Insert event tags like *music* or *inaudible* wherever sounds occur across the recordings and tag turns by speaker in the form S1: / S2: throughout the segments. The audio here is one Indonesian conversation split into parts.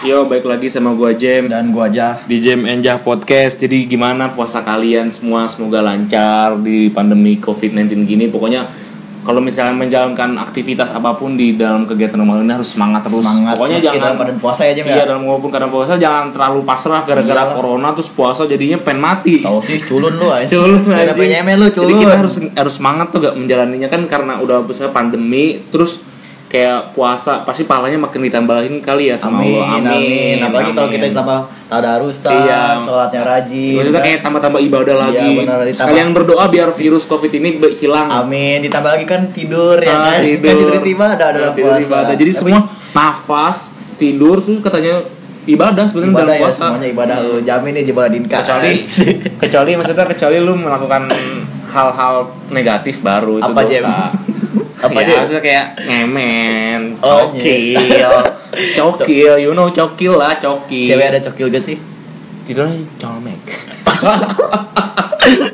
S1: Yo, baik lagi sama gua Jem
S2: dan gua aja
S1: di Jem Enjah Podcast. Jadi gimana puasa kalian semua? Semoga lancar di pandemi COVID-19 gini. Pokoknya kalau misalnya menjalankan aktivitas apapun di dalam kegiatan normal ini harus semangat terus.
S2: semangat
S1: Pokoknya
S2: meski
S1: jangan
S2: dalam badan puasa ya Jam
S1: Iya,
S2: ya
S1: dalam maupun karena puasa jangan terlalu pasrah gara-gara
S2: Iyalah.
S1: corona terus puasa jadinya pengen mati.
S2: tahu sih culun lu aja
S1: *laughs* Culun
S2: ada
S1: anjing.
S2: penyemen lu culun
S1: Jadi kita harus harus semangat tuh gak menjalaninya kan karena udah besar pandemi terus kayak puasa pasti pahalanya makin ditambahin kali ya sama
S2: amin
S1: Allah.
S2: amin, apalagi kalau kita
S1: amin.
S2: ditambah tadarusan
S1: Iya.
S2: sholatnya rajin
S1: Maksudnya
S2: kan?
S1: kayak tambah-tambah ibadah
S2: Iya,
S1: lagi.
S2: benar, ditambah.
S1: Sekalian berdoa biar virus Covid ini be- hilang.
S2: amin ditambah lagi kan tidur ya
S1: Ah, Iya,
S2: kan kan tidur tiba ada ada dalam
S1: Tidur
S2: puasa
S1: ibadah. Jadi
S2: Tapi
S1: semua nafas, tidur tuh katanya ibadah sebenarnya
S2: ibadah
S1: dalam
S2: ya
S1: puasa. Iya.
S2: semuanya ibadah lu jamin nih jebol dinka
S1: Kecuali
S2: *laughs*
S1: kecuali maksudnya kecuali lu melakukan hal-hal negatif baru itu
S2: Apa, Jem?
S1: dosa. *laughs*
S2: Apa,
S1: ya,
S2: Jem?
S1: maksudnya kayak ngemen,
S2: Oh, *laughs*
S1: cokil, cokil, you know cokil lah, cokil.
S2: cewek ada cokil gak
S1: *laughs*
S2: sih
S1: tidurnya colmek. *laughs*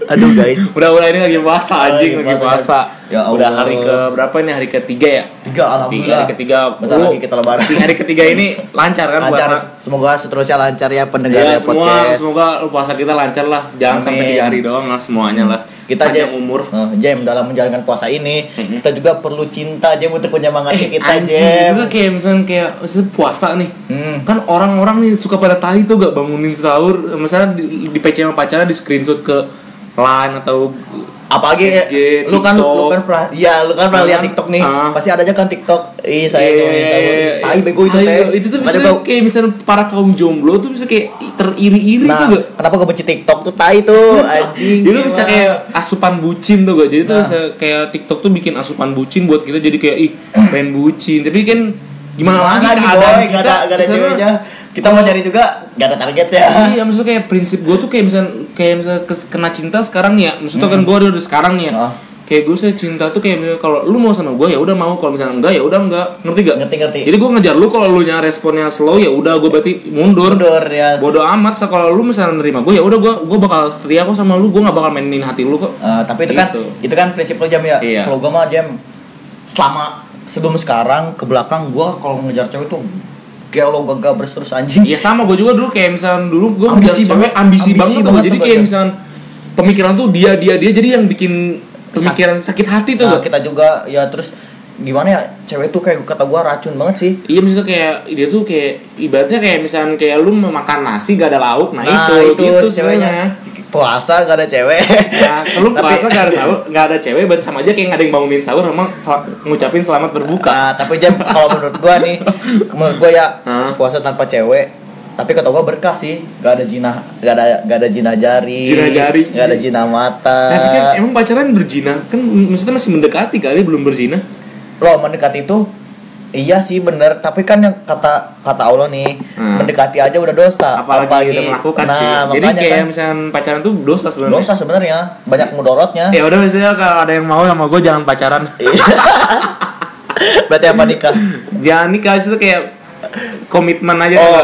S2: aduh guys
S1: Udah-udah ini lagi puasa
S2: Oh,
S1: anjing,
S2: lagi
S1: lagi puasa.
S2: puasa. Ya Allah.
S1: Udah hari ke berapa ini? Hari ketiga ya?
S2: tiga
S1: Tiga,
S2: alhamdulillah
S1: hari ketiga.
S2: bentar
S1: Lu-
S2: lagi kita lebaran
S1: Di hari ketiga ini lancar kan
S2: lancar
S1: puasa?
S2: semoga seterusnya lancar ya
S1: Ya,
S2: pendengar ya,
S1: semua
S2: podcast
S1: semoga puasa kita lancar lah. Jangan sampai
S2: Amin.
S1: tiga hari doang lah semuanya lah.
S2: kita
S1: Panjang
S2: jam
S1: umur.
S2: Eh, jam dalam menjalankan puasa ini
S1: Mhm.
S2: kita juga perlu cinta jam untuk menyemangati kita
S1: Eh, anjing,
S2: jam
S1: maksudnya kayak misalnya kayak maksudnya puasa nih.
S2: Hmm.
S1: Kan orang-orang nih suka pada tahi tuh gak bangunin sahur. Misalnya di, di PC sama pacarnya di screenshot ke line atau
S2: apalagi
S1: SG,
S2: lu kan
S1: TikTok.
S2: lu kan pernah iya lu kan pernah
S1: Kan?
S2: lihat TikTok nih
S1: Ah.
S2: pasti adanya kan TikTok ih saya
S1: Iya,
S2: yeah, tai bego itu
S1: tai
S2: teh
S1: bego. Itu tuh
S2: Ada
S1: misalnya
S2: bau.
S1: kayak misalnya para kaum jomblo tuh bisa kayak i- teriri-iri
S2: nah
S1: tuh gak?
S2: kenapa gue benci TikTok tuh tai tuh anjing
S1: Jadi bisa
S2: gimana?
S1: kayak asupan bucin tuh gak? Jadi tuh
S2: Nah.
S1: bisa kayak TikTok tuh bikin asupan bucin buat kita jadi kayak ih pengen bucin. Tapi kan gimana lagi keadaan
S2: boy
S1: kita
S2: gak ada gak ada
S1: misalnya-
S2: ceweknya kita mau nyari juga gak ada target ya
S1: Iya, maksudnya kayak prinsip gue tuh kayak misalnya kayak misalnya kes- kena cinta sekarang ya. Maksudnya kan gue udah udah sekarang nih ya.
S2: Hmm. Ah.
S1: Kayak gue sih cinta tuh kayak misalnya kalau lu mau sama gue ya udah mau kalau misalnya enggak ya udah enggak ngerti gak?
S2: ngerti ngerti
S1: Jadi gue ngejar lu kalau lu nya responnya slow ya udah gue berarti mundur.
S2: mundur ya
S1: Bodoh amat sa- kalau lu misalnya nerima gue ya udah gue gue bakal setia kok sama lu gue nggak bakal mainin hati lu kok.
S2: Eh, tapi itu kan
S1: Gitu.
S2: itu kan prinsip lo jam ya.
S1: Iya.
S2: Kalau gue mah jam selama sebelum sekarang ke belakang gue kalau ngejar cewek tuh kayak lo gagah beres terus anjing.
S1: Iya sama gue juga dulu kayak misalnya dulu gue
S2: Hmm. Ambisi banget.
S1: ambisi,
S2: Ambisi
S1: banget, tuh,
S2: banget
S1: jadi
S2: tuh
S1: kayak
S2: gua.
S1: misalnya pemikiran tuh dia dia dia jadi yang bikin pemikiran sakit hati tuh.
S2: Nah,
S1: gak?
S2: kita juga ya terus gimana ya cewek tuh kayak kata gue racun banget sih.
S1: Iya maksudnya kayak dia tuh kayak ibaratnya kayak misalnya kayak lu makan nasi gak ada lauk nah, itu, gitu sebenarnya.
S2: puasa gak ada cewek. *laughs*
S1: Ya, lu
S2: Tapi-
S1: puasa gak ada sahur, gak ada cewek, berarti sama aja kayak gak ada yang bangunin sahur sama sel- ngucapin selamat berbuka.
S2: Nah, tapi jam kalau menurut gua
S1: *laughs*
S2: nih, menurut gua ya
S1: Hah?
S2: puasa tanpa cewek. Tapi kata gua berkah sih, gak ada jina, gak ada gak ada jina jari,
S1: Jina jari.
S2: gak ada jina mata.
S1: Tapi kan emang pacaran berzina kan maksudnya masih mendekati kali belum berzina.
S2: Loh mendekati itu Iya sih bener, tapi kan yang kata kata Allah nih
S1: Hmm.
S2: mendekati aja udah dosa,
S1: Apalagi, udah melakukan
S2: Eh, nah,
S1: sih. Jadi
S2: makanya
S1: kayak
S2: kan
S1: misalnya pacaran tuh dosa sebenarnya.
S2: dosa sebenarnya banyak mudorotnya.
S1: Ya udah misalnya kalau ada yang mau ya sama gue jangan pacaran.
S2: Iya. Berarti apa
S1: *laughs*
S2: nikah?
S1: jangan nikah itu kayak komitmen aja Kak.
S2: Oh,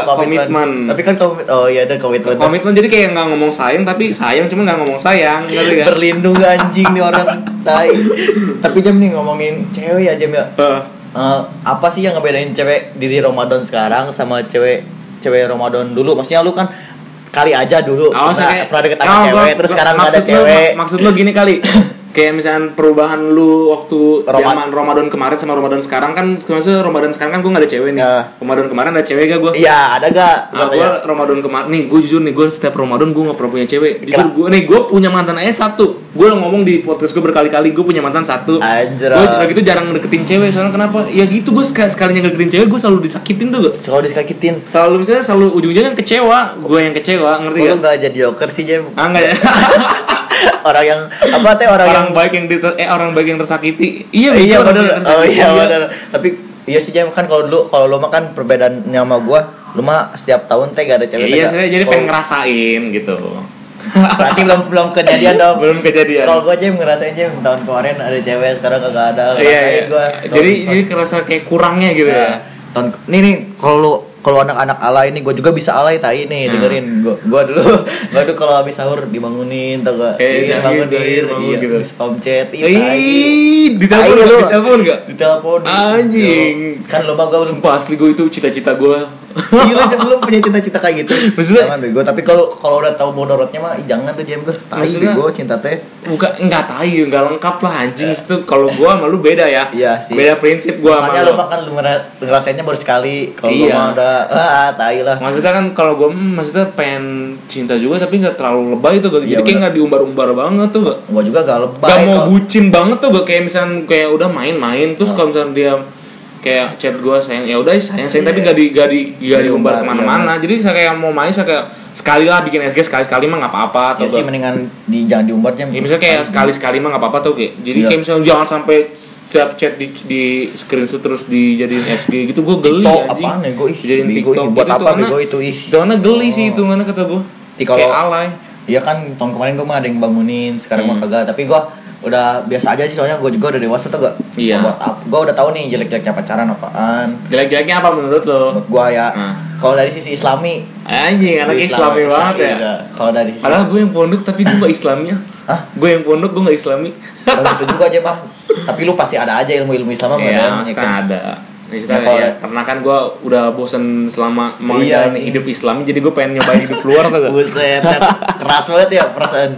S2: Tapi kan komitmen, oh iya ada komitmen.
S1: Iya, komitmen jadi kayak nggak ngomong sayang tapi sayang cuma nggak ngomong sayang
S2: Iya,
S1: ngerti kan? gak?
S2: Berlindung anjing nih orang tai. Tapi jam nih ngomongin cewek ya jam ya.
S1: Eh,
S2: Eh, apa sih yang ngebedain cewek diri Ramadan sekarang sama cewek cewek Ramadan dulu? Maksudnya lu kan kali aja dulu
S1: awas ya,
S2: pernah,
S1: kayak-
S2: pernah deket sama
S1: Oh,
S2: cewek,
S1: gua-
S2: terus
S1: gua-
S2: sekarang nggak ada
S1: maksud lu-
S2: cewek.
S1: mak- maksud lu gini
S2: *laughs*
S1: kali kayak misalnya perubahan lu waktu
S2: Roma-
S1: zaman Ramadan kemarin sama Ramadan sekarang kan maksudnya Ramadan sekarang kan gue nggak ada cewek nih
S2: Ya.
S1: Ramadan kemarin ada cewek gak gue
S2: Iya, ya. ada gak?
S1: Nah, gue Ramadan kemarin nih, gue jujur nih, gue setiap Ramadan gue gak pernah punya cewek. Jujur gue nih, gue punya mantan aja satu. Gue ngomong di podcast gue berkali-kali, gue punya mantan satu.
S2: Anjir.
S1: Gue lagi itu jarang deketin cewek, soalnya kenapa? Ya gitu, gue sekali sekalinya deketin cewek, gue selalu disakitin tuh. gua.
S2: Selalu disakitin.
S1: Selalu misalnya selalu ujung-ujungnya yang kecewa, gue yang kecewa, ngerti
S2: Kok
S1: gak?
S2: lu gak jadi joker sih, Jem?
S1: Ah enggak *laughs* ya.
S2: orang yang apa teh orang,
S1: orang
S2: yang
S1: baik yang diter eh orang baik yang tersakiti. *laughs* Iya,
S2: iya
S1: betul, orang
S2: bener
S1: yang
S2: oh
S1: tersakiti.
S2: iya bener tapi iya sih jam kan kalau dulu kalau lu mah kan perbedaannya sama gua lu mah setiap tahun teh gak ada
S1: Iya,
S2: cewek
S1: iya,
S2: teh,
S1: sebenarnya
S2: gak-
S1: jadi pengen
S2: kalau-
S1: ngerasain gitu.
S2: berarti belum belum kejadian dong
S1: Oh, Belum kejadian.
S2: kalau gua aja ngerasain aja tahun kemarin ada cewek sekarang kagak ada
S1: Iya,
S2: ngerasain
S1: iya.
S2: gua
S1: Jadi jadi kerasa kayak kurangnya gitu
S2: Nah,
S1: ya.
S2: tahun nih nih kalau lu kalau anak-anak alay nih gue juga bisa alay tai nih
S1: Hmm.
S2: dengerin gue gue dulu *laughs* gue dulu kalau habis sahur dibangunin tau Iya, gak
S1: Eh, jangan gitu, bangun
S2: bangun
S1: gitu.
S2: gitu pamcet
S1: Iya, Ih, ditelepon
S2: Iya, lu.
S1: ditelepon enggak?
S2: ditelepon
S1: Anjing.
S2: kan lo bangga belum
S1: Sumpah asli gue itu cita-cita gue.
S2: Gila, belum punya cita-cita kayak gitu
S1: Maksudnya-
S2: jangan bego tapi kalau kalau udah tahu bodorotnya mah ih, jangan tuh jam gue tai
S1: Maksudnya-
S2: bego cinta teh
S1: Bukan enggak tai, enggak lengkap lah anjing itu. Kalau gue sama lu beda ya.
S2: Iya sih.
S1: Beda prinsip gue sama
S2: Misalnya
S1: lu.
S2: lo makan kan lu ngera- ngerasainnya baru sekali kalau gua
S1: Iya.
S2: mah udah ah tai lah
S1: *laughs* Maksudnya kan kalau gue maksudnya pengen cinta juga tapi nggak terlalu lebay tuh. Gak, jadi
S2: Iya,
S1: kayak
S2: bener.
S1: nggak diumbar-umbar banget tuh. Gak,
S2: gua juga gak lebay
S1: Gak mau
S2: kalau-
S1: bucin banget tuh gak kayak misalnya kayak udah main-main
S2: Nah.
S1: terus kalau misalnya dia kayak chat gue sayang ya udah sayang sayang tapi
S2: Iya.
S1: gak di gak di gak
S2: Jadi
S1: diumbar
S2: umbar,
S1: kemana-mana jadi saya kayak mau main saya kayak sekali lah bikin SG sekali sekali mah nggak apa-apa atau
S2: ya sih
S1: gak-
S2: mendingan di jangan diumbar jam
S1: ya, misalnya kayak sekali sekali mah nggak apa-apa tuh kayak jadi
S2: Iya.
S1: kayak misalnya jangan sampai setiap chat di, di screenshot terus dijadiin SG gitu gue geli
S2: TikTok
S1: anjing
S2: apaan bego ih
S1: Dijadiin
S2: Bego, ih.
S1: TikTok
S2: buat
S1: gitu
S2: apa
S1: tuh,
S2: bego
S1: anak.
S2: itu ih Oh.
S1: itu mana geli sih itu mana kata gue
S2: Ih, kalau-
S1: kayak alay
S2: Iya kan tahun kemarin gue mah ada yang bangunin, sekarang
S1: Hmm.
S2: mah kagak. Tapi gue udah biasa aja sih soalnya gue juga udah dewasa tuh gak.
S1: Iya.
S2: Gue udah tahu nih jelek-jeleknya pacaran apaan.
S1: jelek-jeleknya apa menurut lo
S2: Menurut gue ya.
S1: Hmm.
S2: Kalau dari sisi Islami,
S1: anjing anak
S2: Islam-
S1: islami banget ya
S2: iya. Kalau dari sisi
S1: Padahal gue yang pondok tapi gue gak islamnya
S2: Hah?
S1: Gue ya. yang pondok gue gak islami
S2: Kalau itu juga aja mah. Tapi lu pasti ada aja ilmu-ilmu Islam apa kan?
S1: Iya maksudnya ada Maksudnya
S2: Oh, Nah, kalau-
S1: ya, karena kan gue udah bosen selama menjalani
S2: iya.
S1: hidup islami Jadi gue pengen nyobain hidup luar tuh gak?
S2: Buset, ya, keras banget ya perasaan.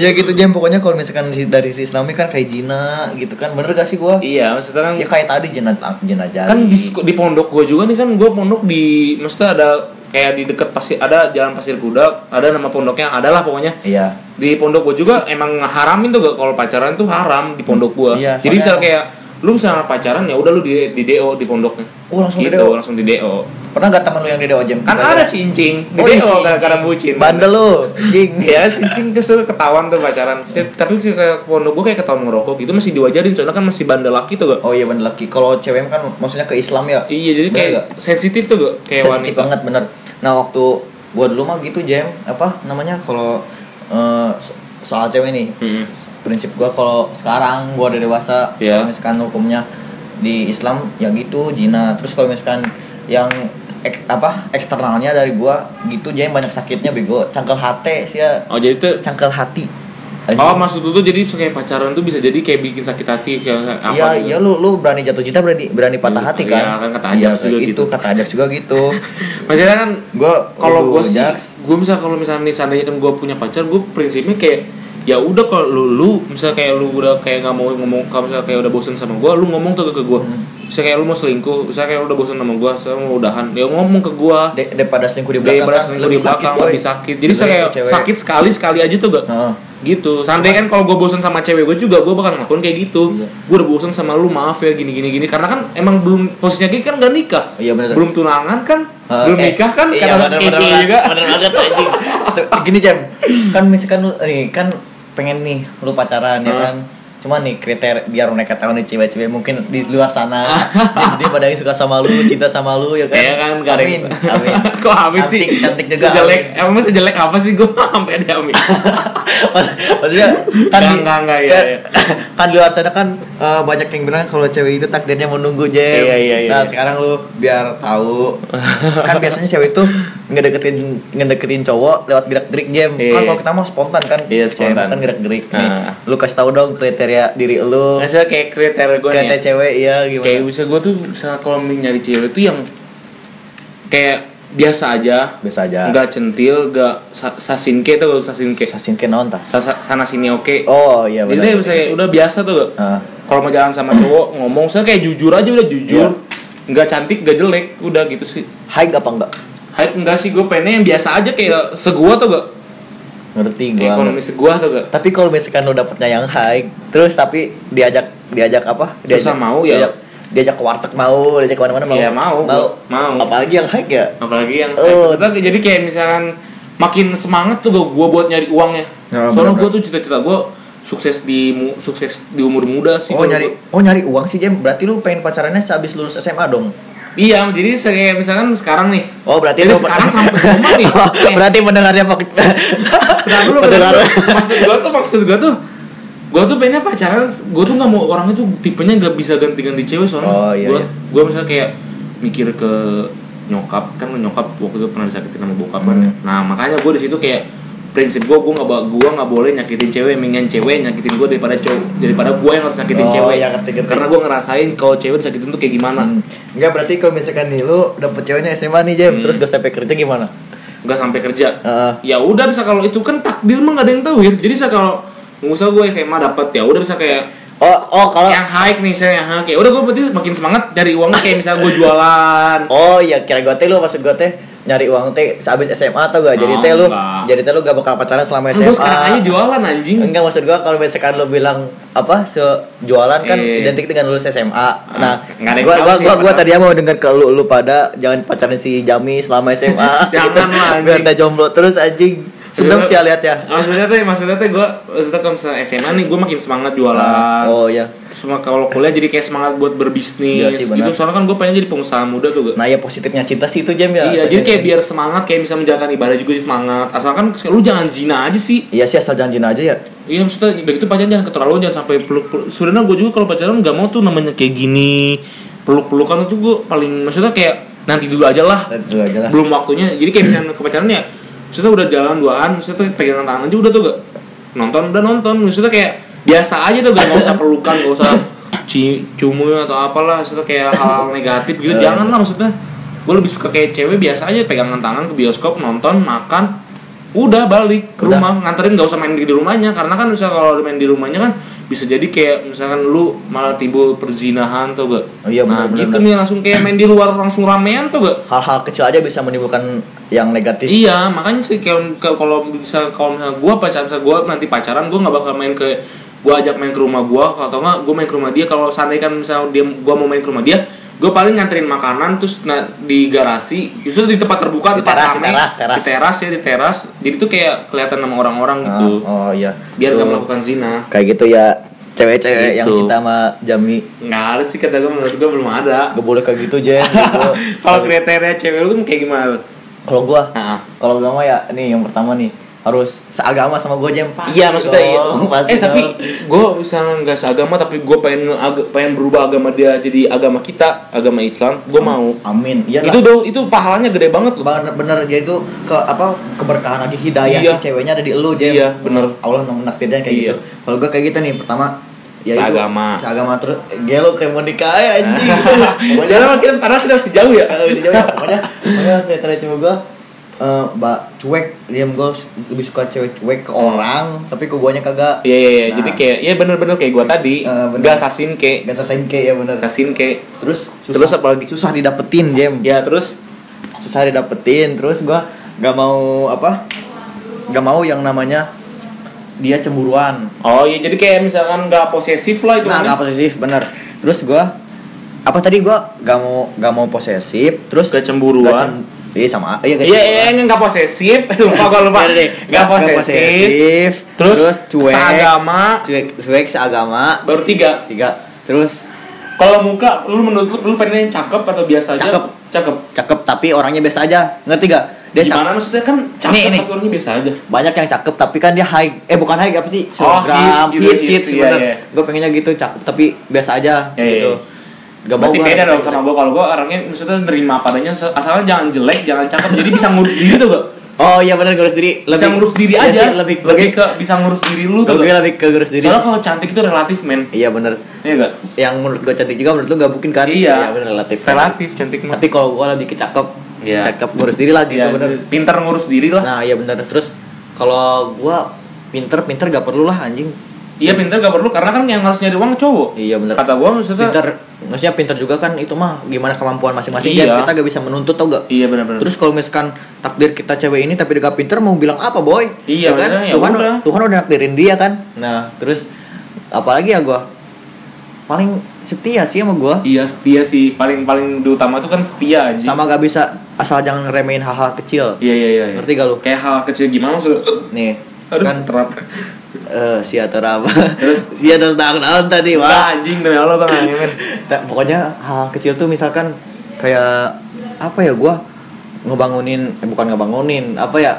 S2: ya gitu jam pokoknya kalau misalkan si- dari sisi Islami kan kayak jina gitu kan. Bener gak sih gue?
S1: Iya maksudnya kan
S2: Ya kayak tadi jenazah jenazah.
S1: Kan di, sek- di pondok gue juga nih kan gue pondok di Maksudnya ada kayak di deket pasir ada jalan pasir kuda ada nama pondoknya adalah pokoknya
S2: Iya.
S1: di pondok gue juga emang haramin tuh gak kalau pacaran tuh haram di pondok gue
S2: Iya,
S1: jadi
S2: soalnya-
S1: misalnya kayak lu misalnya pacaran ya udah lu di, di do di pondoknya
S2: Oh, langsung di
S1: gitu,
S2: DO?
S1: langsung di do
S2: Pernah gak teman lu yang di DO Jam?
S1: kan ada si incing di
S2: Oh, iya, si
S1: do gara-gara bucin
S2: Bandel lu, *laughs* jing.
S1: ya si incing kesel ketahuan tuh pacaran Setiap- tapi ke ke pondok gue kayak ketahuan ngerokok gitu masih diwajarin soalnya kan masih bandel laki tuh gak
S2: Oh iya bener laki. Kalau cewek kan maksudnya ke Islam ya.
S1: iya jadi
S2: Bener
S1: kayak
S2: nggak?
S1: sensitif tuh gak kayak wanita
S2: sensitif banget bener. Nah, waktu gua dulu mah gitu, Jam. Apa namanya kalau eh, so- soal cewek nih.
S1: Mm-mm.
S2: Prinsip gua kalau sekarang gua udah dewasa,
S1: Iya.
S2: kalau misalkan hukumnya di Islam ya gitu, zina. Terus kalau misalkan yang ek- apa eksternalnya dari gua gitu jam banyak sakitnya bego cangkel hati sih ya
S1: oh jadi tuh
S2: cangkel hati
S1: Oh maksud lu tuh jadi kayak pacaran tuh bisa jadi kayak bikin sakit hati kayak apa
S2: Iya,
S1: gitu.
S2: iya lu lu berani jatuh cinta berani berani patah
S1: Iya,
S2: hati
S1: iya,
S2: kan?
S1: kan kata Ajax
S2: kayak
S1: juga gitu.
S2: itu kata ajak juga
S1: *laughs*
S2: gitu.
S1: Maksudnya kan
S2: gua
S1: kalau
S2: aduh, ya.
S1: gue sih
S2: Ajax.
S1: gue misal kalau misalnya nih, seandainya kan gue punya pacar gue prinsipnya kayak ya udah kalau lu lu misal kayak lu udah kayak nggak mau ngomong kalau misal kayak udah bosen sama gue lu ngomong tuh ke gue
S2: Hmm.
S1: misal kayak lu mau selingkuh misal kayak lu udah bosen sama gue saya mau udahan ya ngomong ke gue
S2: De- daripada selingkuh di belakang,
S1: daripada
S2: kan
S1: selingkuh di belakang
S2: boy.
S1: lebih sakit jadi saya
S2: Lebih
S1: kayak
S2: ke cewek.
S1: sakit sekali sekali aja tuh gak
S2: Heeh.
S1: gitu seandainya kan kalau gue bosen sama cewek gue juga gue bakal ngelakuin kayak gitu
S2: Iya.
S1: gue udah bosen sama lu maaf ya gini gini gini karena kan emang belum posisinya gini kan gak nikah
S2: Iya, bener.
S1: belum tunangan kan
S2: Heeh,
S1: belum
S2: eh,
S1: nikah kan
S2: iya,
S1: karena
S2: bener,
S1: kayak
S2: bener
S1: gini
S2: banget,
S1: juga
S2: bener banget anjing. Tuh, Gini jam, kan misalkan lu nih kan pengen nih lu pacaran ya
S1: Heeh.
S2: kan. Cuma nih kriteria biar mereka tahu nih cewek-cewek mungkin di luar
S1: *laughs*
S2: sana dia, dia pada yang suka sama lu, cinta sama lu ya kan.
S1: *laughs* Iya kan gak ada
S2: Amin, amin.
S1: *laughs* kok amin sih
S2: Cantik, cantik juga.
S1: sejelek
S2: amin.
S1: emang sejelek apa sih gue *laughs* sampai ada
S2: *laughs*
S1: amin
S2: Mas- maksudnya
S1: Enggak,
S2: kan di-
S1: enggak, enggak, iya,
S2: kan,
S1: iya.
S2: *laughs* kan di luar sana kan eh, banyak yang bilang kalau cewek itu takdirnya menunggu Jem.
S1: Iya, iya, iya.
S2: nah sekarang lu biar tahu kan biasanya cewek itu ngedeketin ngedeketin cowok lewat gerak gerik Jem.
S1: Iya.
S2: kan kalau kita mau spontan kan
S1: Iya,
S2: Cewek
S1: spontan.
S2: kan gerak gerik nih
S1: Nah.
S2: lu kasih tahu dong kriteria diri lu
S1: maksudnya kayak kriteria gue nih ya.
S2: kriteria cewek iya gimana
S1: kayak bisa gue tuh misalnya kalau nyari cewek tuh yang kayak biasa aja
S2: biasa aja
S1: nggak centil nggak sa- sasinke tuh sasinke
S2: sasinke naon tah
S1: Sa- sa- sana sini oke
S2: oh iya
S1: jadi dia
S2: benar
S1: bisa kayak udah biasa tuh gak?
S2: Ah.
S1: kalau mau jalan sama cowok ngomong saya kayak jujur aja udah jujur
S2: Iya.
S1: nggak cantik nggak jelek udah gitu sih
S2: high apa enggak
S1: Hype enggak sih gue pengen yang biasa aja kayak segua tuh gak
S2: ngerti gua
S1: ekonomi segua tuh gak
S2: Tapi kalau misalkan lo dapetnya yang high, terus tapi diajak diajak apa? Diajak
S1: Susah mau ya?
S2: Diajak, diajak ke warteg mau, diajak kemana-mana mau.
S1: Iya, mau,
S2: mau.
S1: mau.
S2: Apalagi yang high ya?
S1: apalagi yang
S2: Oh.
S1: maksudnya jadi kayak misalkan makin semangat tuh gue buat nyari uangnya
S2: Ya,
S1: soalnya
S2: bener-bener.
S1: gue tuh cita-cita gue sukses di mu- sukses di umur muda sih
S2: Oh
S1: kalau
S2: nyari,
S1: gua.
S2: oh nyari uang sih Jem. Berarti lu pengen pacarannya sehabis lulus SMA dong?
S1: iya jadi saya kayak misalkan sekarang nih
S2: Oh berarti
S1: Jadi
S2: lu Oh,
S1: sekarang
S2: *laughs*
S1: sampai koma nih. Eh.
S2: berarti mendengarnya pak.
S1: Nah,
S2: *laughs*
S1: lu
S2: Pendengar.
S1: *laughs* maksud gua tuh maksud gua tuh gua tuh pengennya pacaran gua tuh nggak mau orangnya tuh tipenya nggak bisa ganti-ganti cewek soalnya
S2: Oh, iya,
S1: gua
S2: iya.
S1: gua misalnya kayak mikir ke nyokap kan nyokap waktu itu pernah disakitin sama bokap kan
S2: Hmm.
S1: ya. nah makanya gue di situ kayak prinsip gue gue nggak ba- gua nggak boleh nyakitin cewek mendingan cewek nyakitin gue daripada cowok daripada gue yang harus nyakitin
S2: Oh,
S1: cewek
S2: iya, ngerti-ngerti.
S1: karena gue ngerasain kalau cewek disakitin tuh kayak gimana
S2: Hmm. Enggak berarti kalau misalkan nih lu dapet ceweknya SMA nih Jem,
S1: Hmm.
S2: terus gak sampai kerja gimana?
S1: nggak sampai kerja
S2: Heeh.
S1: ya udah bisa kalau itu kan takdir mah nggak ada yang tahu ya jadi saya kalau nggak usah gue SMA dapat ya udah bisa kayak
S2: oh, oh kalau
S1: yang hike nih saya yang hike udah gue berarti makin semangat dari uangnya kayak misalnya gue
S2: *laughs*
S1: jualan
S2: Oh iya kira gue teh lu maksud gue teh nyari uang teh sehabis SMA atau gak? Jadi
S1: Oh,
S2: teh lu
S1: enggak.
S2: jadi teh lu gak bakal pacaran selama
S1: gue sekarang aja
S2: SMA.
S1: jualan anjing
S2: Enggak maksud gua kalau misalkan lu bilang apa se jualan kan
S1: Eh.
S2: identik dengan lulus SMA. Nah,
S1: enggak Ah, ada yang
S2: gua
S1: tahu
S2: gua
S1: sih,
S2: gua, gua
S1: padahal.
S2: tadi mau dengar ke lu lu pada jangan pacaran si Jami selama SMA.
S1: *laughs* Jangan lah, anjing.
S2: Gitu.
S1: Iya.
S2: Biar dia jomblo terus anjing. Sedang sih ya lihat ya.
S1: maksudnya teh maksudnya teh gue maksudnya kalau misalnya SMA nih gue makin semangat jualan
S2: Oh iya.
S1: semua kalau kuliah jadi kayak semangat buat berbisnis
S2: Iya sih,
S1: gitu
S2: benar.
S1: soalnya kan gue pengen jadi pengusaha muda tuh Ga.
S2: Nah, ya positifnya cinta sih itu Jam ya.
S1: iya jadi kayak biar semangat kayak bisa menjalankan ibadah juga jadi semangat asalkan lu jangan zina aja sih
S2: Iya sih asal jangan zina aja ya.
S1: Iya maksudnya begitu pacaran jangan keterlaluan jangan sampai peluk-peluk. Sebenarnya gue juga kalau pacaran nggak mau tuh namanya kayak gini peluk-pelukan itu gue paling maksudnya kayak nanti dulu aja lah
S2: Itu aja lah.
S1: belum waktunya. Jadi kayak misalnya ke pacaran ya maksudnya udah jalan duaan maksudnya tuh pegangan tangan aja udah tuh gak nonton udah nonton maksudnya kayak biasa aja tuh gak nggak usah pelukan nggak usah ci- cumuy atau apalah maksudnya kayak hal-hal negatif gitu
S2: Eh.
S1: jangan lah maksudnya gue lebih suka kayak cewek biasa aja pegangan tangan ke bioskop nonton makan udah balik ke
S2: Udah.
S1: rumah nganterin gak usah main di rumahnya karena kan misalnya kalau main di rumahnya kan bisa jadi kayak misalkan lu malah timbul perzinahan tuh gak
S2: Oh iya,
S1: nah
S2: benar-benar.
S1: gitu nih langsung kayak main di luar langsung ramean tuh gak
S2: Hal-hal kecil aja bisa menimbulkan yang negatif.
S1: iya makanya sih kalau kalau bisa kalau misalnya gua pacaran misalnya gua nanti pacaran gua nggak bakal main ke gua ajak main ke rumah gua atau nggak gua main ke rumah dia kalau seandainya kan misalnya dia gua mau main ke rumah dia gua paling nganterin makanan terus na- di garasi justru di tempat terbuka
S2: Di
S1: tempat
S2: teras,
S1: rame,
S2: teras, teras.
S1: di teras ya di teras jadi tuh kayak kelihatan sama orang-orang
S2: Ah,
S1: gitu
S2: oh iya.
S1: biar
S2: Tuh.
S1: gak melakukan zina
S2: Kayak gitu ya cewek-cewek yang
S1: Gitu.
S2: cinta sama Jami
S1: nggak ada sih kata gua menurut gua belum ada
S2: gak boleh kayak gitu Jen
S1: *laughs*
S2: gitu.
S1: kalau kriteria cewek lu kan kayak gimana
S2: kalau gua
S1: Nah.
S2: kalau agama ya nih yang pertama nih harus seagama sama gua Jen pasti
S1: Iya maksudnya iya.
S2: dong, *laughs* pasti
S1: eh tapi
S2: dong.
S1: gue misalnya nggak seagama tapi gue pengen nge- pengen berubah agama dia jadi agama kita agama Islam gue mau
S2: amin iya
S1: itu
S2: lah
S1: doh itu pahalanya gede banget *laughs* loh
S2: bener, bener ya itu ke apa keberkahan lagi hidayah
S1: Iya.
S2: si ceweknya ada di elu Jen
S1: Iya, bener.
S2: Allah menakdirkan kayak
S1: Iya.
S2: gitu kalau gua kayak gitu nih pertama ya itu,
S1: Seagama.
S2: seagama terus gelo kayak mau nikah ya, anjing
S1: *laughs*
S2: Pokoknya-
S1: Jangan makin karena kita masih jauh ya.
S2: Eh, udah jauh ya pokoknya pokoknya kriteria cewek gue eh mbak cuek dia gue lebih suka cewek cuek ke orang tapi ke guanya kagak
S1: Iya iya iya.
S2: Nah.
S1: Jadi kayak ya bener-bener kayak gue tadi
S2: Eh, bener.
S1: nggak sasin kayak
S2: gak sasain ke ya bener
S1: sasin kayak
S2: terus susah,
S1: Terus apa lagi?
S2: susah didapetin jam
S1: ya terus
S2: susah didapetin terus gue gak mau apa gak mau yang namanya dia cemburuan
S1: oh iya jadi kayak misalkan nggak posesif lah itu kan.
S2: nah
S1: namanya.
S2: gak posesif bener terus gue apa tadi gue gak mau gak mau posesif terus
S1: Gak cemburuan.
S2: Gak cem- iya sama iya gak
S1: Iya
S2: cemburuan.
S1: iya yang nggak posesif *laughs* lupa gue lupa
S2: Iya, iya.
S1: nggak posesif
S2: posesif.
S1: terus,
S2: cuek
S1: seagama
S2: cuek cuek seagama
S1: baru tiga
S2: tiga terus
S1: kalau muka lu menurut lu, lu pengen yang cakep atau biasa aja
S2: Cakep.
S1: cakep
S2: cakep tapi orangnya biasa aja ngerti gak dia cakep
S1: Gimana maksudnya kan cakep
S2: Nih, nih.
S1: tapi orangnya biasa aja.
S2: banyak yang cakep tapi kan dia high eh bukan high apa sih
S1: Oh, hits gitu, hits,
S2: hits,
S1: iya, iya.
S2: gue pengennya gitu cakep tapi biasa aja
S1: Iya, iya.
S2: gitu gak mau
S1: Berarti
S2: gua
S1: beda
S2: ada
S1: dong
S2: cakep.
S1: sama gue kalau gue orangnya maksudnya nerima padanya asalkan jangan jelek, jangan cakep jadi bisa ngurus diri tuh gak?
S2: oh iya benar ngurus diri
S1: Bisa ngurus diri
S2: iya
S1: aja.
S2: sih, lebih
S1: lebih
S2: lebih
S1: ke bisa ngurus diri lu tuh.
S2: gue
S1: Gak?
S2: lebih ke ngurus diri
S1: Soalnya kalau cantik itu relatif men.
S2: iya bener
S1: Iya gak?
S2: yang menurut gue cantik juga menurut lu gak mungkin kan
S1: Iya.
S2: bener relatif
S1: Relatif cantik mah.
S2: tapi kalau gua lebih ke cakep
S1: Iya.
S2: cakep ngurus diri lah gitu
S1: Iya,
S2: bener
S1: pintar ngurus diri lah.
S2: nah iya bener terus kalau gua pinter pinter gak perlu lah anjing
S1: Iya pintar gak perlu karena kan yang harus nyari uang cowok.
S2: iya bener
S1: Kata gue maksudnya.
S2: pinter maksudnya pinter juga kan itu mah gimana kemampuan masing-masing
S1: Iya.
S2: Jen. kita gak bisa menuntut tau gak
S1: Iya benar-benar.
S2: terus kalau misalkan takdir kita cewek ini tapi dia gak pinter mau bilang apa boy
S1: Iya,
S2: Ya kan
S1: maksudnya ya
S2: Tuhan
S1: udah.
S2: Tuhan udah nakdirin dia kan nah terus apalagi ya gua paling setia sih sama gua
S1: Iya setia sih paling paling utama tuh kan setia aja.
S2: sama gak bisa asal jangan ngeremehin hal-hal kecil
S1: Iya iya iya.
S2: ngerti gak lu
S1: Kayak hal kecil gimana maksudnya?
S2: nih
S1: Aduh,
S2: kan
S1: terap.
S2: eh si apa
S1: Terus? Nah.
S2: *laughs* si atas tahun tahun tadi wah
S1: Wah anjing demi Allah gue gak ngemen
S2: Ta- pokoknya hal kecil tuh misalkan kayak apa ya gua ngebangunin eh, bukan ngebangunin apa ya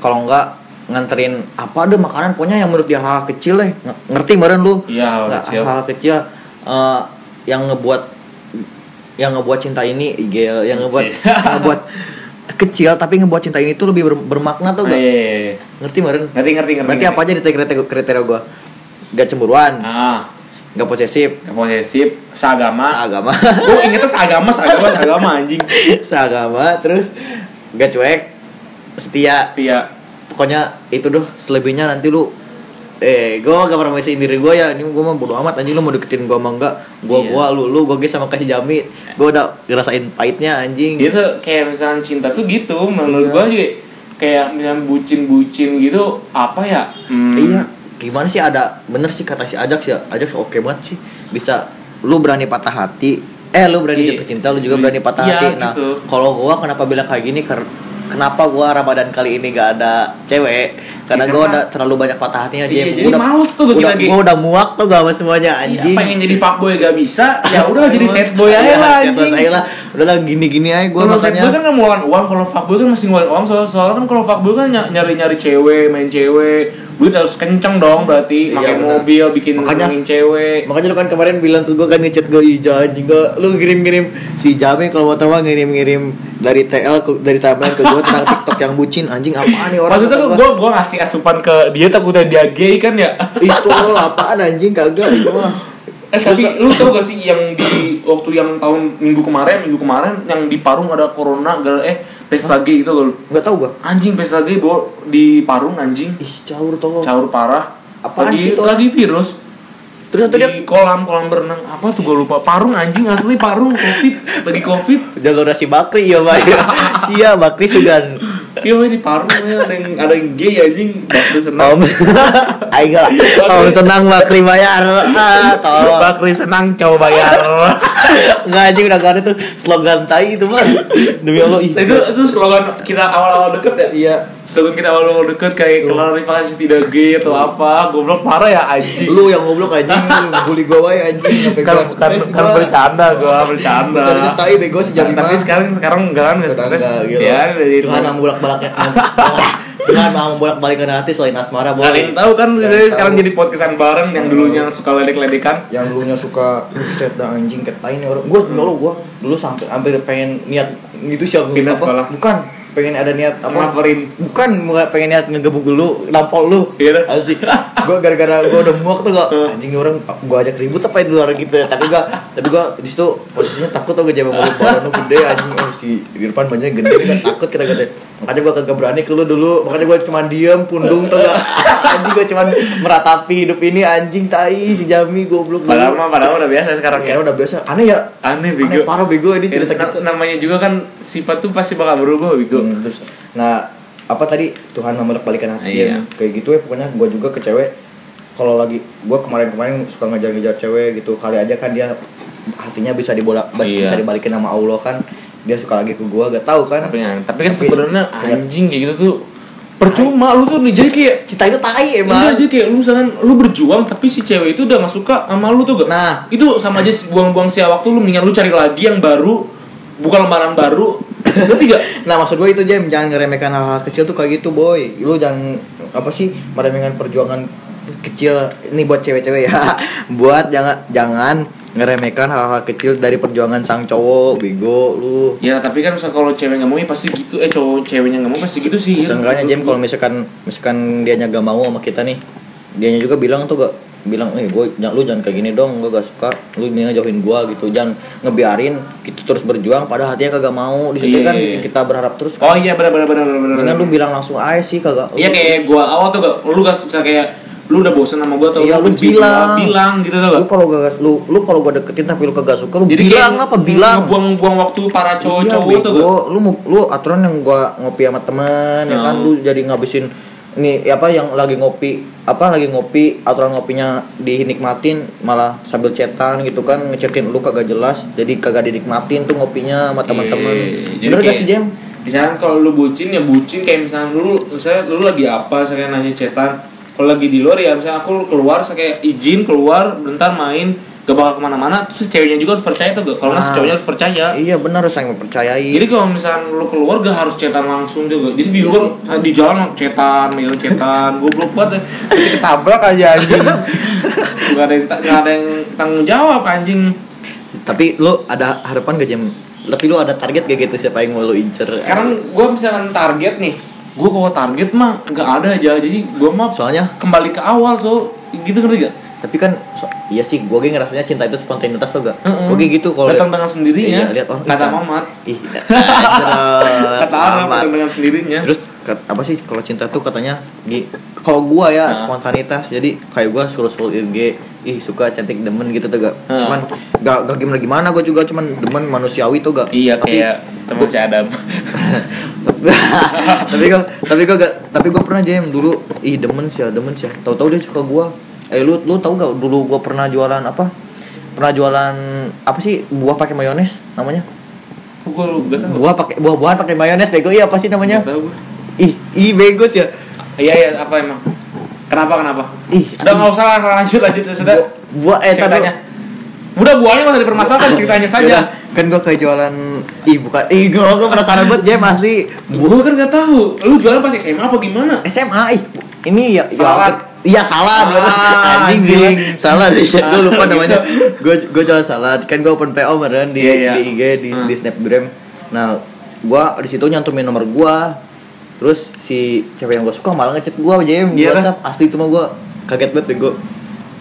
S2: kalau enggak nganterin apa ada makanan pokoknya yang menurut dia hal kecil deh Ng- ngerti kemarin lu
S1: Iya hal
S2: Nggak,
S1: kecil
S2: hal kecil eh, yang ngebuat yang ngebuat cinta ini igel yang ngebuat
S1: Cie.
S2: yang
S1: *laughs*
S2: ngebuat kecil tapi ngebuat cinta ini tuh lebih ber- bermakna tuh
S1: Oh,
S2: gak
S1: iya, iya, iya.
S2: ngerti meren
S1: Ngerti ngerti ngerti.
S2: berarti apa aja di kriteria kriteria gue gak cemburuan
S1: Ah,
S2: gak posesif
S1: gak posesif, *laughs* seagama.
S2: seagama *laughs*
S1: Gue ingetnya seagama, seagama, seagama anjing.
S2: seagama terus gak cuek setia
S1: Setia.
S2: pokoknya itu doh selebihnya nanti lu eh gue gak pernah mesin diri gue ya ini gue mah bodo amat anjing lu mau deketin gue mah enggak gue
S1: Iya. Eh.
S2: gua lu lu gue ge sama kasih jami gue udah ngerasain pahitnya anjing
S1: Gitu kayak misalnya cinta tuh gitu
S2: Iya.
S1: menurut gua juga kayak misalnya bucin-bucin gitu apa ya? Hmm,
S2: iya gimana sih ada bener sih kata si ajak sih ajak oke banget sih bisa lu berani patah hati eh lu
S1: Iya.
S2: berani jatuh cinta lu juga
S1: Iya,
S2: berani patah
S1: iya,
S2: hati nah
S1: gitu.
S2: kalau gua kenapa bilang kayak gini ker- kenapa gua ramadan kali ini gak ada cewek karena
S1: Iya,
S2: gua
S1: karena-
S2: udah terlalu banyak patah hatinya
S1: Iya,
S2: Jim.
S1: jadi
S2: Gua udah,
S1: males tuh gua
S2: udah,
S1: lagi.
S2: gua udah muak tuh gak sama semuanya anjing
S1: Iya, pengen jadi fuckboy gak bisa, ya udah jadi sad boy aja
S2: Iya,
S1: lah
S2: sad boy
S1: anjing.
S2: aja lah. udah lah gini-gini aja gua
S1: kalau
S2: makanya
S1: makanya... kan nggak ngeluarin uang, kalau fuckboy kan masih ngeluarin uang soal soalnya kan kalau fuckboy kan ny- nyari-nyari cewek, main cewek, duit harus kenceng dong berarti,
S2: Iya,
S1: pakai
S2: benar.
S1: mobil, bikin
S2: Makanya-
S1: senengin cewek.
S2: Makanya lu kan kemarin bilang ke gue kan ngechat gue Ija anjing gua- Lu ngirim-ngirim Si Jame kalau mau tahu ngirim-ngirim Dari TL ke, dari timeline ke gue tentang TikTok yang bucin Anjing apaan nih orang
S1: Maksudnya
S2: kata
S1: tuh
S2: gua.
S1: gue gue ngasih asupan ke dia takutnya dia gay kan ya.
S2: Itu lo apaan anjing kagak itu mah
S1: *laughs* Eh tapi lu tau gak sih yang di waktu yang tahun minggu kemarin minggu kemarin yang di Parung ada corona gal eh pesta gay itu gal
S2: Gak tau gue
S1: anjing pesta gay bo di Parung anjing
S2: Ih caur tolong
S1: caur parah
S2: Apaan
S1: lagi
S2: sih itu?
S1: lagi virus
S2: Terus satu
S1: di
S2: dia
S1: kolam kolam berenang apa tuh gue lupa Parung anjing asli Parung covid lagi covid
S2: Jalur si Bakri ya Mbak *laughs* Sia Bakri Sugan
S1: iya weh, di Parung weh, ada yang ada yang gay anjing bakri senang
S2: Om *laughs* Aing lah Om senang Bakri bayar ah, Tolong
S1: bakri senang coba bayar
S2: Nggak anjing udah gak ada tuh Slogan tai itu mah Demi Allah ih.
S1: Nah, itu itu slogan kita awal-awal deket ya
S2: Iya
S1: Sedangkan kita awal deket kayak klarifikasi tidak gay atau apa, goblok parah ya anjing.
S2: lu yang goblok anjing bully gue wae anjing sampai
S1: kan
S2: gua
S1: bukan
S2: stres
S1: kan
S2: gua.
S1: bercanda gua bercanda.
S2: Bercanda tai bego sejam lima
S1: Tapi sekarang sekarang enggak kan enggak
S2: Udah
S1: stres.
S2: enggak gitu
S1: Ya dari
S2: Tuhan mau bolak baliknya
S1: *laughs*
S2: Tuhan mau bolak balikan hati selain asmara boleh
S1: Kalian tahu kan
S2: Kalian
S1: saya
S2: tahu.
S1: sekarang jadi podcastan bareng yang dulunya suka ledek-ledekan.
S2: yang dulunya suka set dah anjing ketain nih orang gue dulu gue dulu sampai hampir pengen niat itu siapa
S1: Pindah sekolah.
S2: bukan pengen ada niat apa
S1: Ngelaporin.
S2: bukan bukan pengen niat ngegebuk lu nampol lu
S1: Iya dah.
S2: asli gue gara-gara gue udah muak tuh gue anjing nih orang gue ajak ribut apa di luar gitu ya tapi gue tapi gue di situ posisinya takut tuh gue jaman mulut badan lu gede anjing oh si di depan banyak gede dia kan takut kita gede makanya gue kagak berani ke lu dulu makanya gue cuman diem pundung tuh gak *laughs* anjing gue cuman meratapi hidup ini anjing tai si jami goblok
S1: Padahal mah padahal udah biasa sekarang ya.
S2: sekarang udah biasa aneh ya
S1: Aneh
S2: aneh
S1: bego.
S2: parah bego ini cerita gitu.
S1: Kan
S2: kita
S1: namanya juga kan sifat tuh pasti bakal berubah bego.
S2: Hmm, terus, nah apa tadi Tuhan memeluk balikan hati
S1: Iya.
S2: Jim. kayak gitu ya pokoknya gue juga ke cewek kalau lagi gue kemarin-kemarin suka ngejar-ngejar cewek gitu kali aja kan dia hatinya bisa dibolak
S1: Iya.
S2: bisa dibalikin sama Allah kan dia suka lagi ke gue gak tahu kan
S1: Tapi, tapi kan
S2: Tapi-
S1: sebenarnya
S2: Iya.
S1: anjing kayak gitu tuh percuma lu tuh nih jadi kayak
S2: cinta itu tai
S1: Iya
S2: emang
S1: aja kayak lu misalkan lu berjuang tapi si cewek itu udah gak suka sama lu tuh gak?
S2: Nah.
S1: Itu sama aja sih, buang-buang sia waktu lu mendingan lu cari lagi yang baru Bukan lembaran baru Ngerti
S2: *laughs*
S1: gak?
S2: nah maksud gue itu Jam jangan ngeremehkan hal-hal kecil tuh kayak gitu boy lu jangan apa sih meremehkan perjuangan kecil ini buat cewek-cewek ya *laughs* buat jangan jangan ngeremehkan hal-hal kecil dari perjuangan sang cowok bego lu
S1: Ya tapi kan misalkan kalau cewek gak mau ya pasti gitu Eh cowok ceweknya gak mau pasti gitu sih
S2: Seenggaknya Jam kalau misalkan misalkan dianya gak mau sama kita nih, dianya juga bilang tuh gak bilang eh gue lu jangan kayak gini dong gue gak suka lu mendingan jauhin gua gitu jangan ngebiarin kita terus berjuang pada hatinya kagak mau di situ
S1: Iya,
S2: kan
S1: iya,
S2: bikin
S1: iya.
S2: kita berharap terus
S1: Oh iya benar benar benar benar
S2: mendingan lu
S1: benar.
S2: bilang langsung aja sih kagak
S1: Iya kayak gua awal tuh gak Lu gak bisa kayak Lu udah bosen sama gua atau
S2: Iya, lu
S1: benci gua,
S2: bilang.
S1: Bilang gitu tau
S2: lu
S1: gak?
S2: kalau gak lu lu kalau gua deketin tapi lu kagak suka lu
S1: Jadi
S2: bilang
S1: kayak
S2: apa bilang
S1: Buang-buang waktu para
S2: Iya,
S1: cowok-cowok tuh
S2: bego.
S1: gak?
S2: lu mau- lu aturan yang gua ngopi sama teman ya
S1: Nah.
S2: kan lu jadi ngabisin nih apa yang lagi ngopi apa lagi ngopi aturan ngopinya dinikmatin malah sambil cetan gitu kan ngechatin lu kagak jelas jadi kagak dinikmatin tuh ngopinya sama teman-teman
S1: Iya, jadi
S2: bener gak
S1: kayak-
S2: sih Jem?
S1: misalkan kalau lu bucin ya bucin kayak misalkan lu misalnya lu lagi apa saya nanya cetan kalau lagi di luar ya misalnya aku keluar saya kayak izin keluar bentar main gak bakal kemana-mana terus si ceweknya juga harus percaya tuh gak kalau nggak si
S2: Ah.
S1: cowoknya harus percaya
S2: iya bener harus saling mempercayai
S1: jadi kalau misalkan lu keluar gak harus cetan langsung juga jadi di
S2: Iya
S1: luar di jalan cetan ya
S2: *laughs*
S1: cetan goblok banget ya. Jadi *laughs* ketabrak aja anjing gak ada yang gak ada yang tanggung jawab anjing
S2: Tapi lu ada harapan gak jam? Tapi lu ada target gak gitu siapa yang mau lu incer?
S1: Sekarang gue misalkan target nih, gue kalau target mah nggak ada aja. Jadi gue mah
S2: soalnya
S1: kembali ke awal tuh, gitu ngerti gak?
S2: tapi kan so- iya sih gue kayak ngerasanya cinta itu spontanitas tuh gak
S1: Heeh.
S2: gue kayak gitu kalau
S1: datang
S2: liat-
S1: dengan sendirinya.
S2: iya, lihat orang
S1: ya. kata
S2: ih,
S1: Mamat, *laughs*
S2: ih cerot,
S1: kata Arab
S2: amat.
S1: datang dengan sendirinya.
S2: terus kat- apa sih kalau cinta tuh katanya gi- kalau gue ya
S1: Nah.
S2: spontanitas jadi kayak gue scroll-scroll IG ih suka cantik demen gitu tuh gak
S1: Heeh.
S2: cuman gak, gak gimana gimana gue juga cuman demen manusiawi tuh gak
S1: Iya
S2: Tapi-
S1: kayak teman si Adam.
S2: *laughs* tapi gue tapi gue gak tapi gue pernah jam dulu ih demen sih ya, demen sih ya. tahu-tahu dia suka gue eh lu lu tahu gak dulu gue pernah jualan apa pernah jualan apa sih buah pakai mayones namanya
S1: Gue lu gak tau.
S2: buah pakai buah-buahan pakai mayones bego iya apa sih namanya
S1: Nggak tahu gua.
S2: ih ih bego sih ya
S1: Iya iya apa emang? Kenapa kenapa?
S2: ih
S1: Udah nggak usah lanjut lanjut sudah.
S2: buah, buah eh tadi
S1: ceritanya. Udah buahnya masih dipermasalahkan ceritanya saja.
S2: Yaudah, kan gue kayak jualan ih bukan ih gue gue penasaran banget jam asli
S1: Gue kan nggak tahu. Lu jualan pas SMA apa gimana?
S2: SMA ih ini ya
S1: Salad.
S2: Iya
S1: Ah,
S2: salad, bener. anjing,
S1: anjing.
S2: anjing. salad. Iya, gue lupa
S1: Gitu.
S2: namanya. Gue gue jualan salad. Kan gue open PO meren di
S1: Iya, iya.
S2: di IG di,
S1: Hmm.
S2: di Snapgram. Nah, gue di situ nyantumin nomor gue. Terus si cewek yang gue suka malah ngechat gue aja di
S1: Iya,
S2: WhatsApp. Asli itu mah gue kaget banget gue.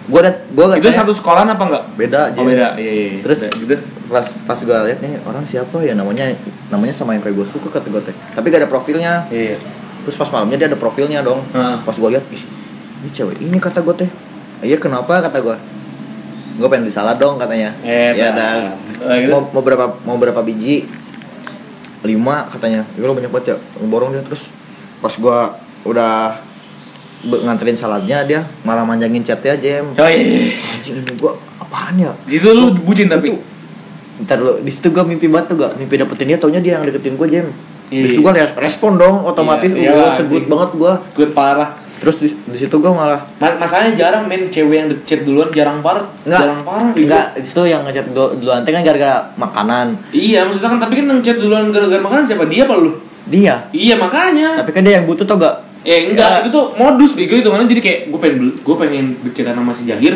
S2: Gue ada gue
S1: Itu satu sekolahan apa enggak?
S2: beda aja.
S1: Oh beda. Iya iya. iya.
S2: Terus
S1: Beda, gitu.
S2: pas pas gue liat nih orang siapa ya namanya namanya sama yang kayak gue suka kata gue teh. Tapi gak ada profilnya
S1: Iya. iya.
S2: terus pas malamnya dia ada profilnya dong
S1: Heeh.
S2: pas gue lihat ih ini cewek ini kata gue teh iya kenapa kata gue gue pengen disalah dong katanya
S1: Eh,
S2: ya
S1: nah.
S2: dah
S1: Eh, gitu.
S2: mau, mau berapa mau berapa biji lima katanya ya lo banyak banget ya borong dia terus pas gue udah be- nganterin saladnya dia malah manjangin chatnya aja
S1: Oh iya. iya.
S2: anjir gue apaan ya
S1: Itu lu bucin tapi.
S2: Itu- ntar lo di situ gue mimpi banget tuh gak mimpi dapetin dia taunya dia yang deketin gue jam
S1: Iya,
S2: di situ
S1: iya.
S2: gue respon dong otomatis
S1: Iya,
S2: gue
S1: iya,
S2: sebut
S1: anjing.
S2: banget gue
S1: Gue parah.
S2: terus di, di situ gue malah
S1: Mas masalahnya jarang main cewek yang chat duluan jarang parah.
S2: nggak
S1: Jarang parah. gitu.
S2: nggak di situ yang ngechat dulu- duluan teh kan gara-gara makanan
S1: Iya maksudnya kan tapi kan yang chat duluan gara-gara makanan siapa dia apa lu?
S2: dia
S1: Iya makanya.
S2: tapi kan dia yang butuh tau gak
S1: Eh enggak, itu tuh modus bego itu mana jadi kayak gue pengen gue pengen bercerita sama si Jahir,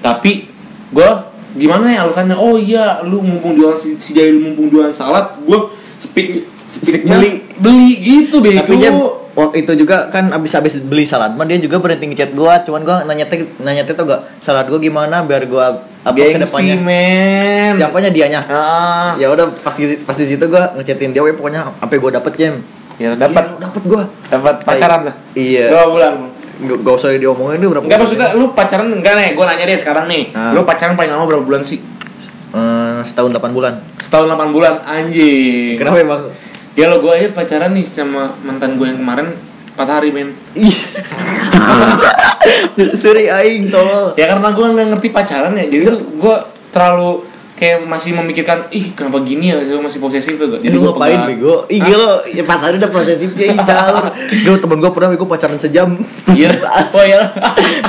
S1: tapi gue gimana ya alasannya? Oh iya, lu mumpung jualan si, si Jahir mumpung jualan salad, gue speak speak
S2: beli.
S1: beli gitu bego.
S2: tapi jam waktu itu juga kan abis abis beli salad mah dia juga berhenti ngechat gue cuman gue nanya teh nanya teh tau gak salad gue gimana biar gue apa ke
S1: gengsi
S2: depannya
S1: men.
S2: siapanya dianya
S1: Ah,
S2: ya udah pas di pas di situ gue ngechatin dia "Weh, pokoknya sampai gue dapet jam
S1: ya dapat
S2: Iya, dapet gue
S1: dapat pacaran lah.
S2: Iya.
S1: Dua bulan.
S2: gak, gak usah diomongin dia berapa
S1: Enggak
S2: bulan
S1: maksudnya lu pacaran enggak nih? Gue nanya deh sekarang nih.
S2: Ah.
S1: Lu pacaran paling lama berapa bulan sih?
S2: ya? Eh, setahun 8 bulan
S1: Setahun 8 bulan anjing.
S2: kenapa emang
S1: Ya lo gue aja pacaran nih sama mantan gue yang kemarin 4 hari men
S2: Ih. *laughs* Suri aing tolol.
S1: Ya karena gue nggak ngerti pacaran ya Jadi gue terlalu kayak masih memikirkan Ih kenapa gini ya Gue masih posesif tuh
S2: Jadi
S1: gua
S2: ngapain
S1: pegang.
S2: bego? Ih gila, ya patah udah posesifnya ih calon. Gue temen gue pernah bego pacaran sejam. *laughs*
S1: Iya
S2: Asli.
S1: Oh iya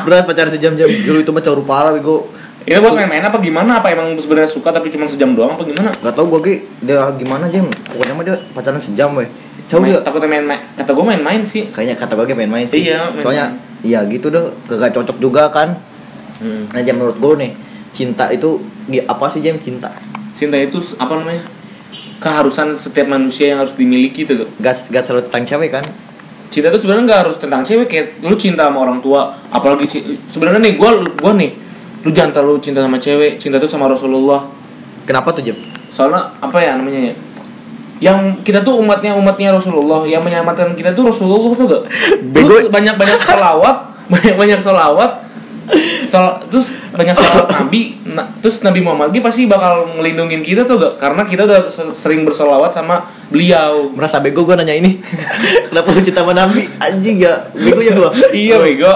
S2: pernah pacaran sejam jam. Dulu itu mah cowok parah bego.
S1: Itu buat main-main apa gimana? Apa emang sebenarnya suka tapi cuma sejam doang apa gimana?
S2: Gak tau gue ki dia gimana jam. Pokoknya mah dia pacaran sejam weh. Cowok
S1: Main,
S2: dia.
S1: takutnya main-main Kata gue main-main sih
S2: Kayaknya kata gue main-main sih.
S1: Iya, main-main.
S2: Soalnya iya gitu deh, kagak cocok juga kan.
S1: hmm.
S2: Nah jam menurut gue nih, cinta itu gi- apa sih jam cinta?
S1: Cinta itu s- apa namanya? Keharusan setiap manusia yang harus dimiliki tuh
S2: Gak gak selalu tentang cewek kan?
S1: cinta itu sebenarnya nggak harus tentang cewek kayak lu cinta sama orang tua apalagi ci- sebenarnya nih gua gua nih lu jangan terlalu cinta sama cewek cinta itu sama Rasulullah
S2: Kenapa tuh jam?
S1: soalnya apa ya namanya ya yang kita tuh umatnya umatnya Rasulullah yang menyelamatkan kita tuh Rasulullah tuh *laughs* gak
S2: Bego.
S1: terus banyak banyak salawat *laughs* banyak banyak salawat Sal- terus banyak salawat *laughs* Nabi na- terus Nabi Muhammad dia pasti bakal ngelindungin kita tuh gak karena kita udah se- sering bersolawat sama beliau
S2: merasa bego gue nanya ini *laughs* kenapa lu cinta sama Nabi anjing ya bego ya gue
S1: iya bego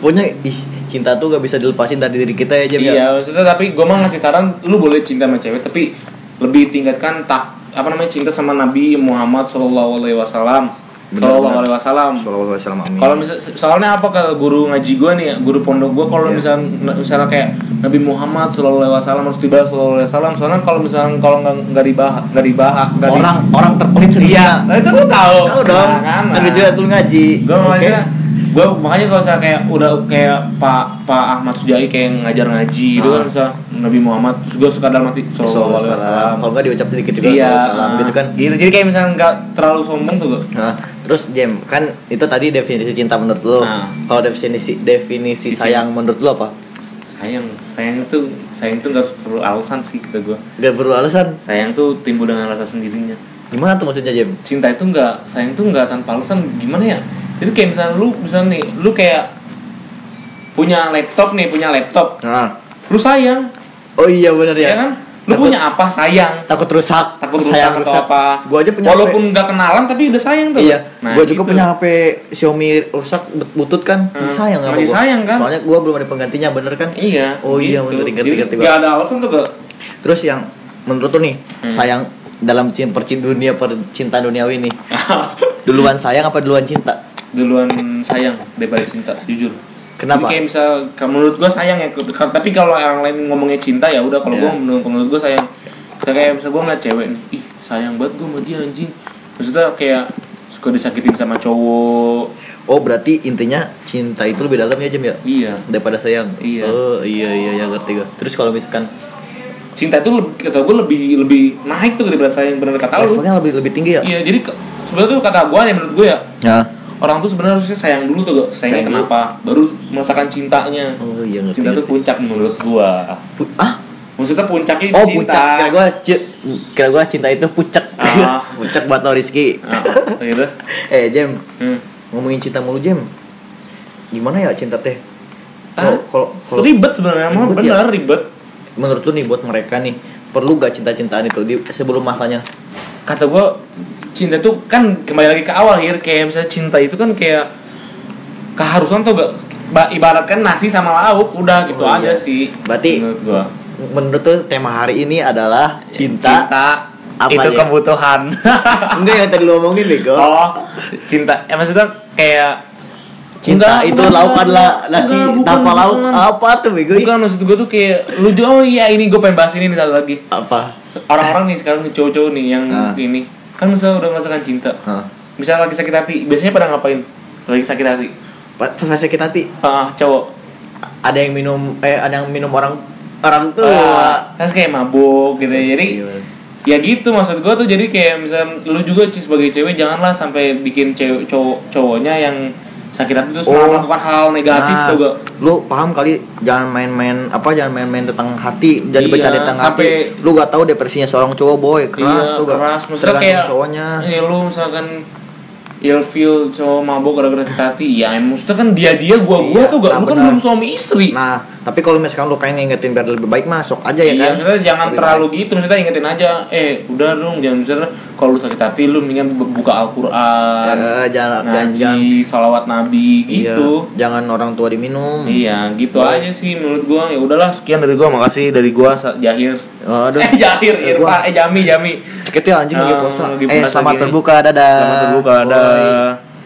S2: pokoknya ih cinta tuh gak bisa dilepasin dari diri kita ya jam
S1: Iya,
S2: ya
S1: maksudnya tapi gue mah ngasih saran, lu boleh cinta sama cewek, tapi lebih tingkatkan tak apa namanya cinta sama Nabi Muhammad Shallallahu Alaihi Wasallam.
S2: Benar
S1: Shallallahu
S2: banget.
S1: Alaihi Wasallam.
S2: Sallallahu alaihi wasallam amin
S1: Kalau misal, soalnya apa ke guru ngaji gue nih, guru pondok gue kalau
S2: Iya.
S1: misalnya misalnya kayak Nabi Muhammad Shallallahu Alaihi Wasallam harus dibahas Shallallahu Alaihi Wasallam. Soalnya kalau misalnya kalau nggak nggak dibahas nggak dibahas nggak di-
S2: orang orang terpelit sendiri
S1: Nah, itu gue tahu.
S2: tahu dong
S1: Iya. Nah, kan,
S2: ada
S1: nah.
S2: juga lu ngaji
S1: Gue
S2: Oke.
S1: makanya gue gue makanya kalau saya kayak udah kayak Pak Pak Ahmad Sujai kayak ngajar ngaji gitu kan
S2: Ah.
S1: misalnya Nabi Muhammad terus gue suka dalam hati Sallallahu Alaihi Wasallam
S2: Kalau nggak diucap sedikit juga
S1: iya
S2: salam gitu kan.
S1: gitu jadi kayak misalnya nggak terlalu sombong tuh gue
S2: Nah, terus Jem, kan itu tadi definisi cinta menurut lo.
S1: Nah.
S2: Kalau definisi definisi
S1: Cinta.
S2: sayang menurut lo apa?
S1: sayang sayang tuh sayang tuh nggak perlu alasan sih kata gue
S2: Gak perlu alasan.
S1: sayang tuh timbul dengan rasa sendirinya
S2: Gimana tuh maksudnya Jem?
S1: cinta itu nggak sayang tuh nggak tanpa alasan gimana ya jadi kayak misalnya lu misalnya nih lu kayak punya laptop nih punya laptop
S2: Nah.
S1: lu sayang
S2: Oh iya benar
S1: ya,
S2: ya.
S1: kan lu
S2: Takut-
S1: punya apa sayang
S2: Takut rusak.
S1: takut
S2: sayang
S1: rusak atau apa
S2: Gua aja punya
S1: walaupun
S2: HP.
S1: nggak kenalan tapi udah sayang tuh
S2: Iya,
S1: Nah,
S2: gua juga
S1: gitu.
S2: punya HP Xiaomi rusak but- butut kan,
S1: Hmm,
S2: sayang sama
S1: masih
S2: gua.
S1: sayang kan?
S2: Soalnya gua belum ada penggantinya, bener kan?
S1: iya
S2: Oh iya,
S1: gitu.
S2: ngerti, ngerti,
S1: Jadi
S2: ngerti,
S1: nggak ada alasan tuh ke
S2: Terus yang menurut tuh nih,
S1: Hmm.
S2: sayang dalam cinta percinta dunia percintaan duniawi nih. Duluan sayang apa duluan cinta?
S1: *laughs* duluan sayang daripada cinta jujur Jadi
S2: Kenapa?
S1: kayak misal ka- menurut gua sayang ya ke- ka- tapi kalau orang lain ngomongnya cinta ya udah kalau
S2: Iya.
S1: gua menurut, menurut gua sayang Kayak- kayak misal gua ngeliat cewek nih ih sayang banget gua sama dia anjing maksudnya kayak suka disakitin sama cowok
S2: Oh, berarti intinya cinta itu lebih dalam ya, Jem ya?
S1: iya
S2: Daripada sayang.
S1: Iya.
S2: Oh, iya iya ya ngerti gua. Terus kalau misalkan
S1: cinta itu lebih- kata gua lebih lebih naik tuh daripada sayang bener kata lu
S2: levelnya lebih lebih tinggi ya?
S1: Iya, jadi ke- sebenarnya tuh kata gua nih menurut gua ya,
S2: Ya.
S1: orang tuh sebenarnya harusnya sayang dulu tuh, Gak. sayangnya
S2: Sayang dulu.
S1: kenapa? Baru merasakan cintanya.
S2: Oh, iya ngerti.
S1: Cinta tuh
S2: ngerti.
S1: puncak menurut gua.
S2: Pu- ah,
S1: Maksudnya puncaknya
S2: Oh
S1: cinta.
S2: puncak, kira gue kira gua cinta itu puncak, *laughs*
S1: Ah.
S2: puncak buat lo Rizky.
S1: Nah, gitu.
S2: eh Jem,
S1: Hmm.
S2: ngomongin cinta mulu Jem, gimana ya cinta teh?
S1: Ah,
S2: Kalau kalau- kalau
S1: ribet sebenarnya, emang
S2: Ribet ya?
S1: bener ribet.
S2: menurut lu nih buat mereka nih perlu gak cinta-cintaan itu di sebelum masanya?
S1: Kata gua cinta tuh kan kembali lagi ke awal ya, kayak misalnya cinta itu kan kayak keharusan tuh gak Ba- ibaratkan nasi sama lauk udah gitu
S2: Oh,
S1: aja
S2: iya.
S1: sih
S2: Berarti-
S1: menurut gua
S2: Menurut tuh tema hari ini adalah cinta. apa
S1: itu
S2: ya?
S1: kebutuhan
S2: *laughs* Enggak yang tadi lu omongin Bego.
S1: Oh, cinta. Ya maksudnya kayak
S2: Cinta
S1: Enggak,
S2: itu
S1: bukan,
S2: lauk adalah
S1: bukan.
S2: nasi
S1: Enggak, bukan,
S2: tanpa lauk Ah,
S1: bukan.
S2: apa tuh Bego?
S1: Bukan maksud gue tuh kayak lu ju- oh iya ini gue pengen bahas ini nih satu lagi.
S2: Apa?
S1: Orang-orang nih sekarang nih cowok-cowok nih yang
S2: Ah.
S1: ini kan misalnya udah merasakan cinta.
S2: Hah.
S1: Misalnya lagi sakit hati, biasanya pada ngapain? Lagi sakit hati.
S2: Pas pas sakit hati
S1: Ah, cowok.
S2: ada yang minum eh ada yang minum orang orang tua.
S1: Ah,
S2: Iya.
S1: kan kayak mabuk gitu. ya. Jadi
S2: Gila.
S1: ya gitu maksud gue tuh jadi kayak misalnya lu juga Ci, sebagai cewek janganlah sampai bikin cewek cowok cowoknya yang sakit hati terus
S2: Oh.
S1: melakukan hal negatif
S2: Nah,
S1: tuh gak
S2: Lu paham kali jangan main-main apa jangan main-main tentang hati, jangan
S1: Iya,
S2: bercanda tentang
S1: sampai-
S2: hati. Lu gak tahu depresinya seorang cowok boy, keras
S1: Iya,
S2: tuh gak?
S1: keras. Maksudnya
S2: Tergantung
S1: kayak-
S2: cowoknya.
S1: ya lu misalkan ilfil cowok mabok gara-gara sakit hati ya em, maksudnya kan dia dia gua gua
S2: Iya,
S1: tuh gak
S2: nah,
S1: lu kan
S2: benar.
S1: belum suami istri
S2: Nah, tapi kalau misalkan lu pengen ngingetin biar lebih baik masuk aja ya
S1: Iya,
S2: kan.
S1: maksudnya jangan
S2: Lebih
S1: terlalu gitu maksudnya ingetin aja eh udah dong jangan misalnya kalau lu sakit hati lu mendingan bu- buka
S2: baik.
S1: Al-Qur'an
S2: Eh, jangan jangan jangan
S1: ngaji salawat nabi Nah, gitu
S2: Iya, jangan orang tua diminum.
S1: Iya, gitu aja sih menurut gua. Ya udahlah, sekian dari gua. Makasih dari gua Sa- Jahir.
S2: Aduh.
S1: *laughs* Eh Jahir,
S2: Eh,
S1: Irfan,
S2: gua-
S1: eh Jami, Jami.
S2: Cekit ya anjing lagi
S1: Ah,
S2: puasa.
S1: lagi
S2: Eh,
S1: puasa
S2: selamat
S1: gini.
S2: berbuka, dadah.
S1: Selamat berbuka,
S2: Eh, Boy.
S1: dadah.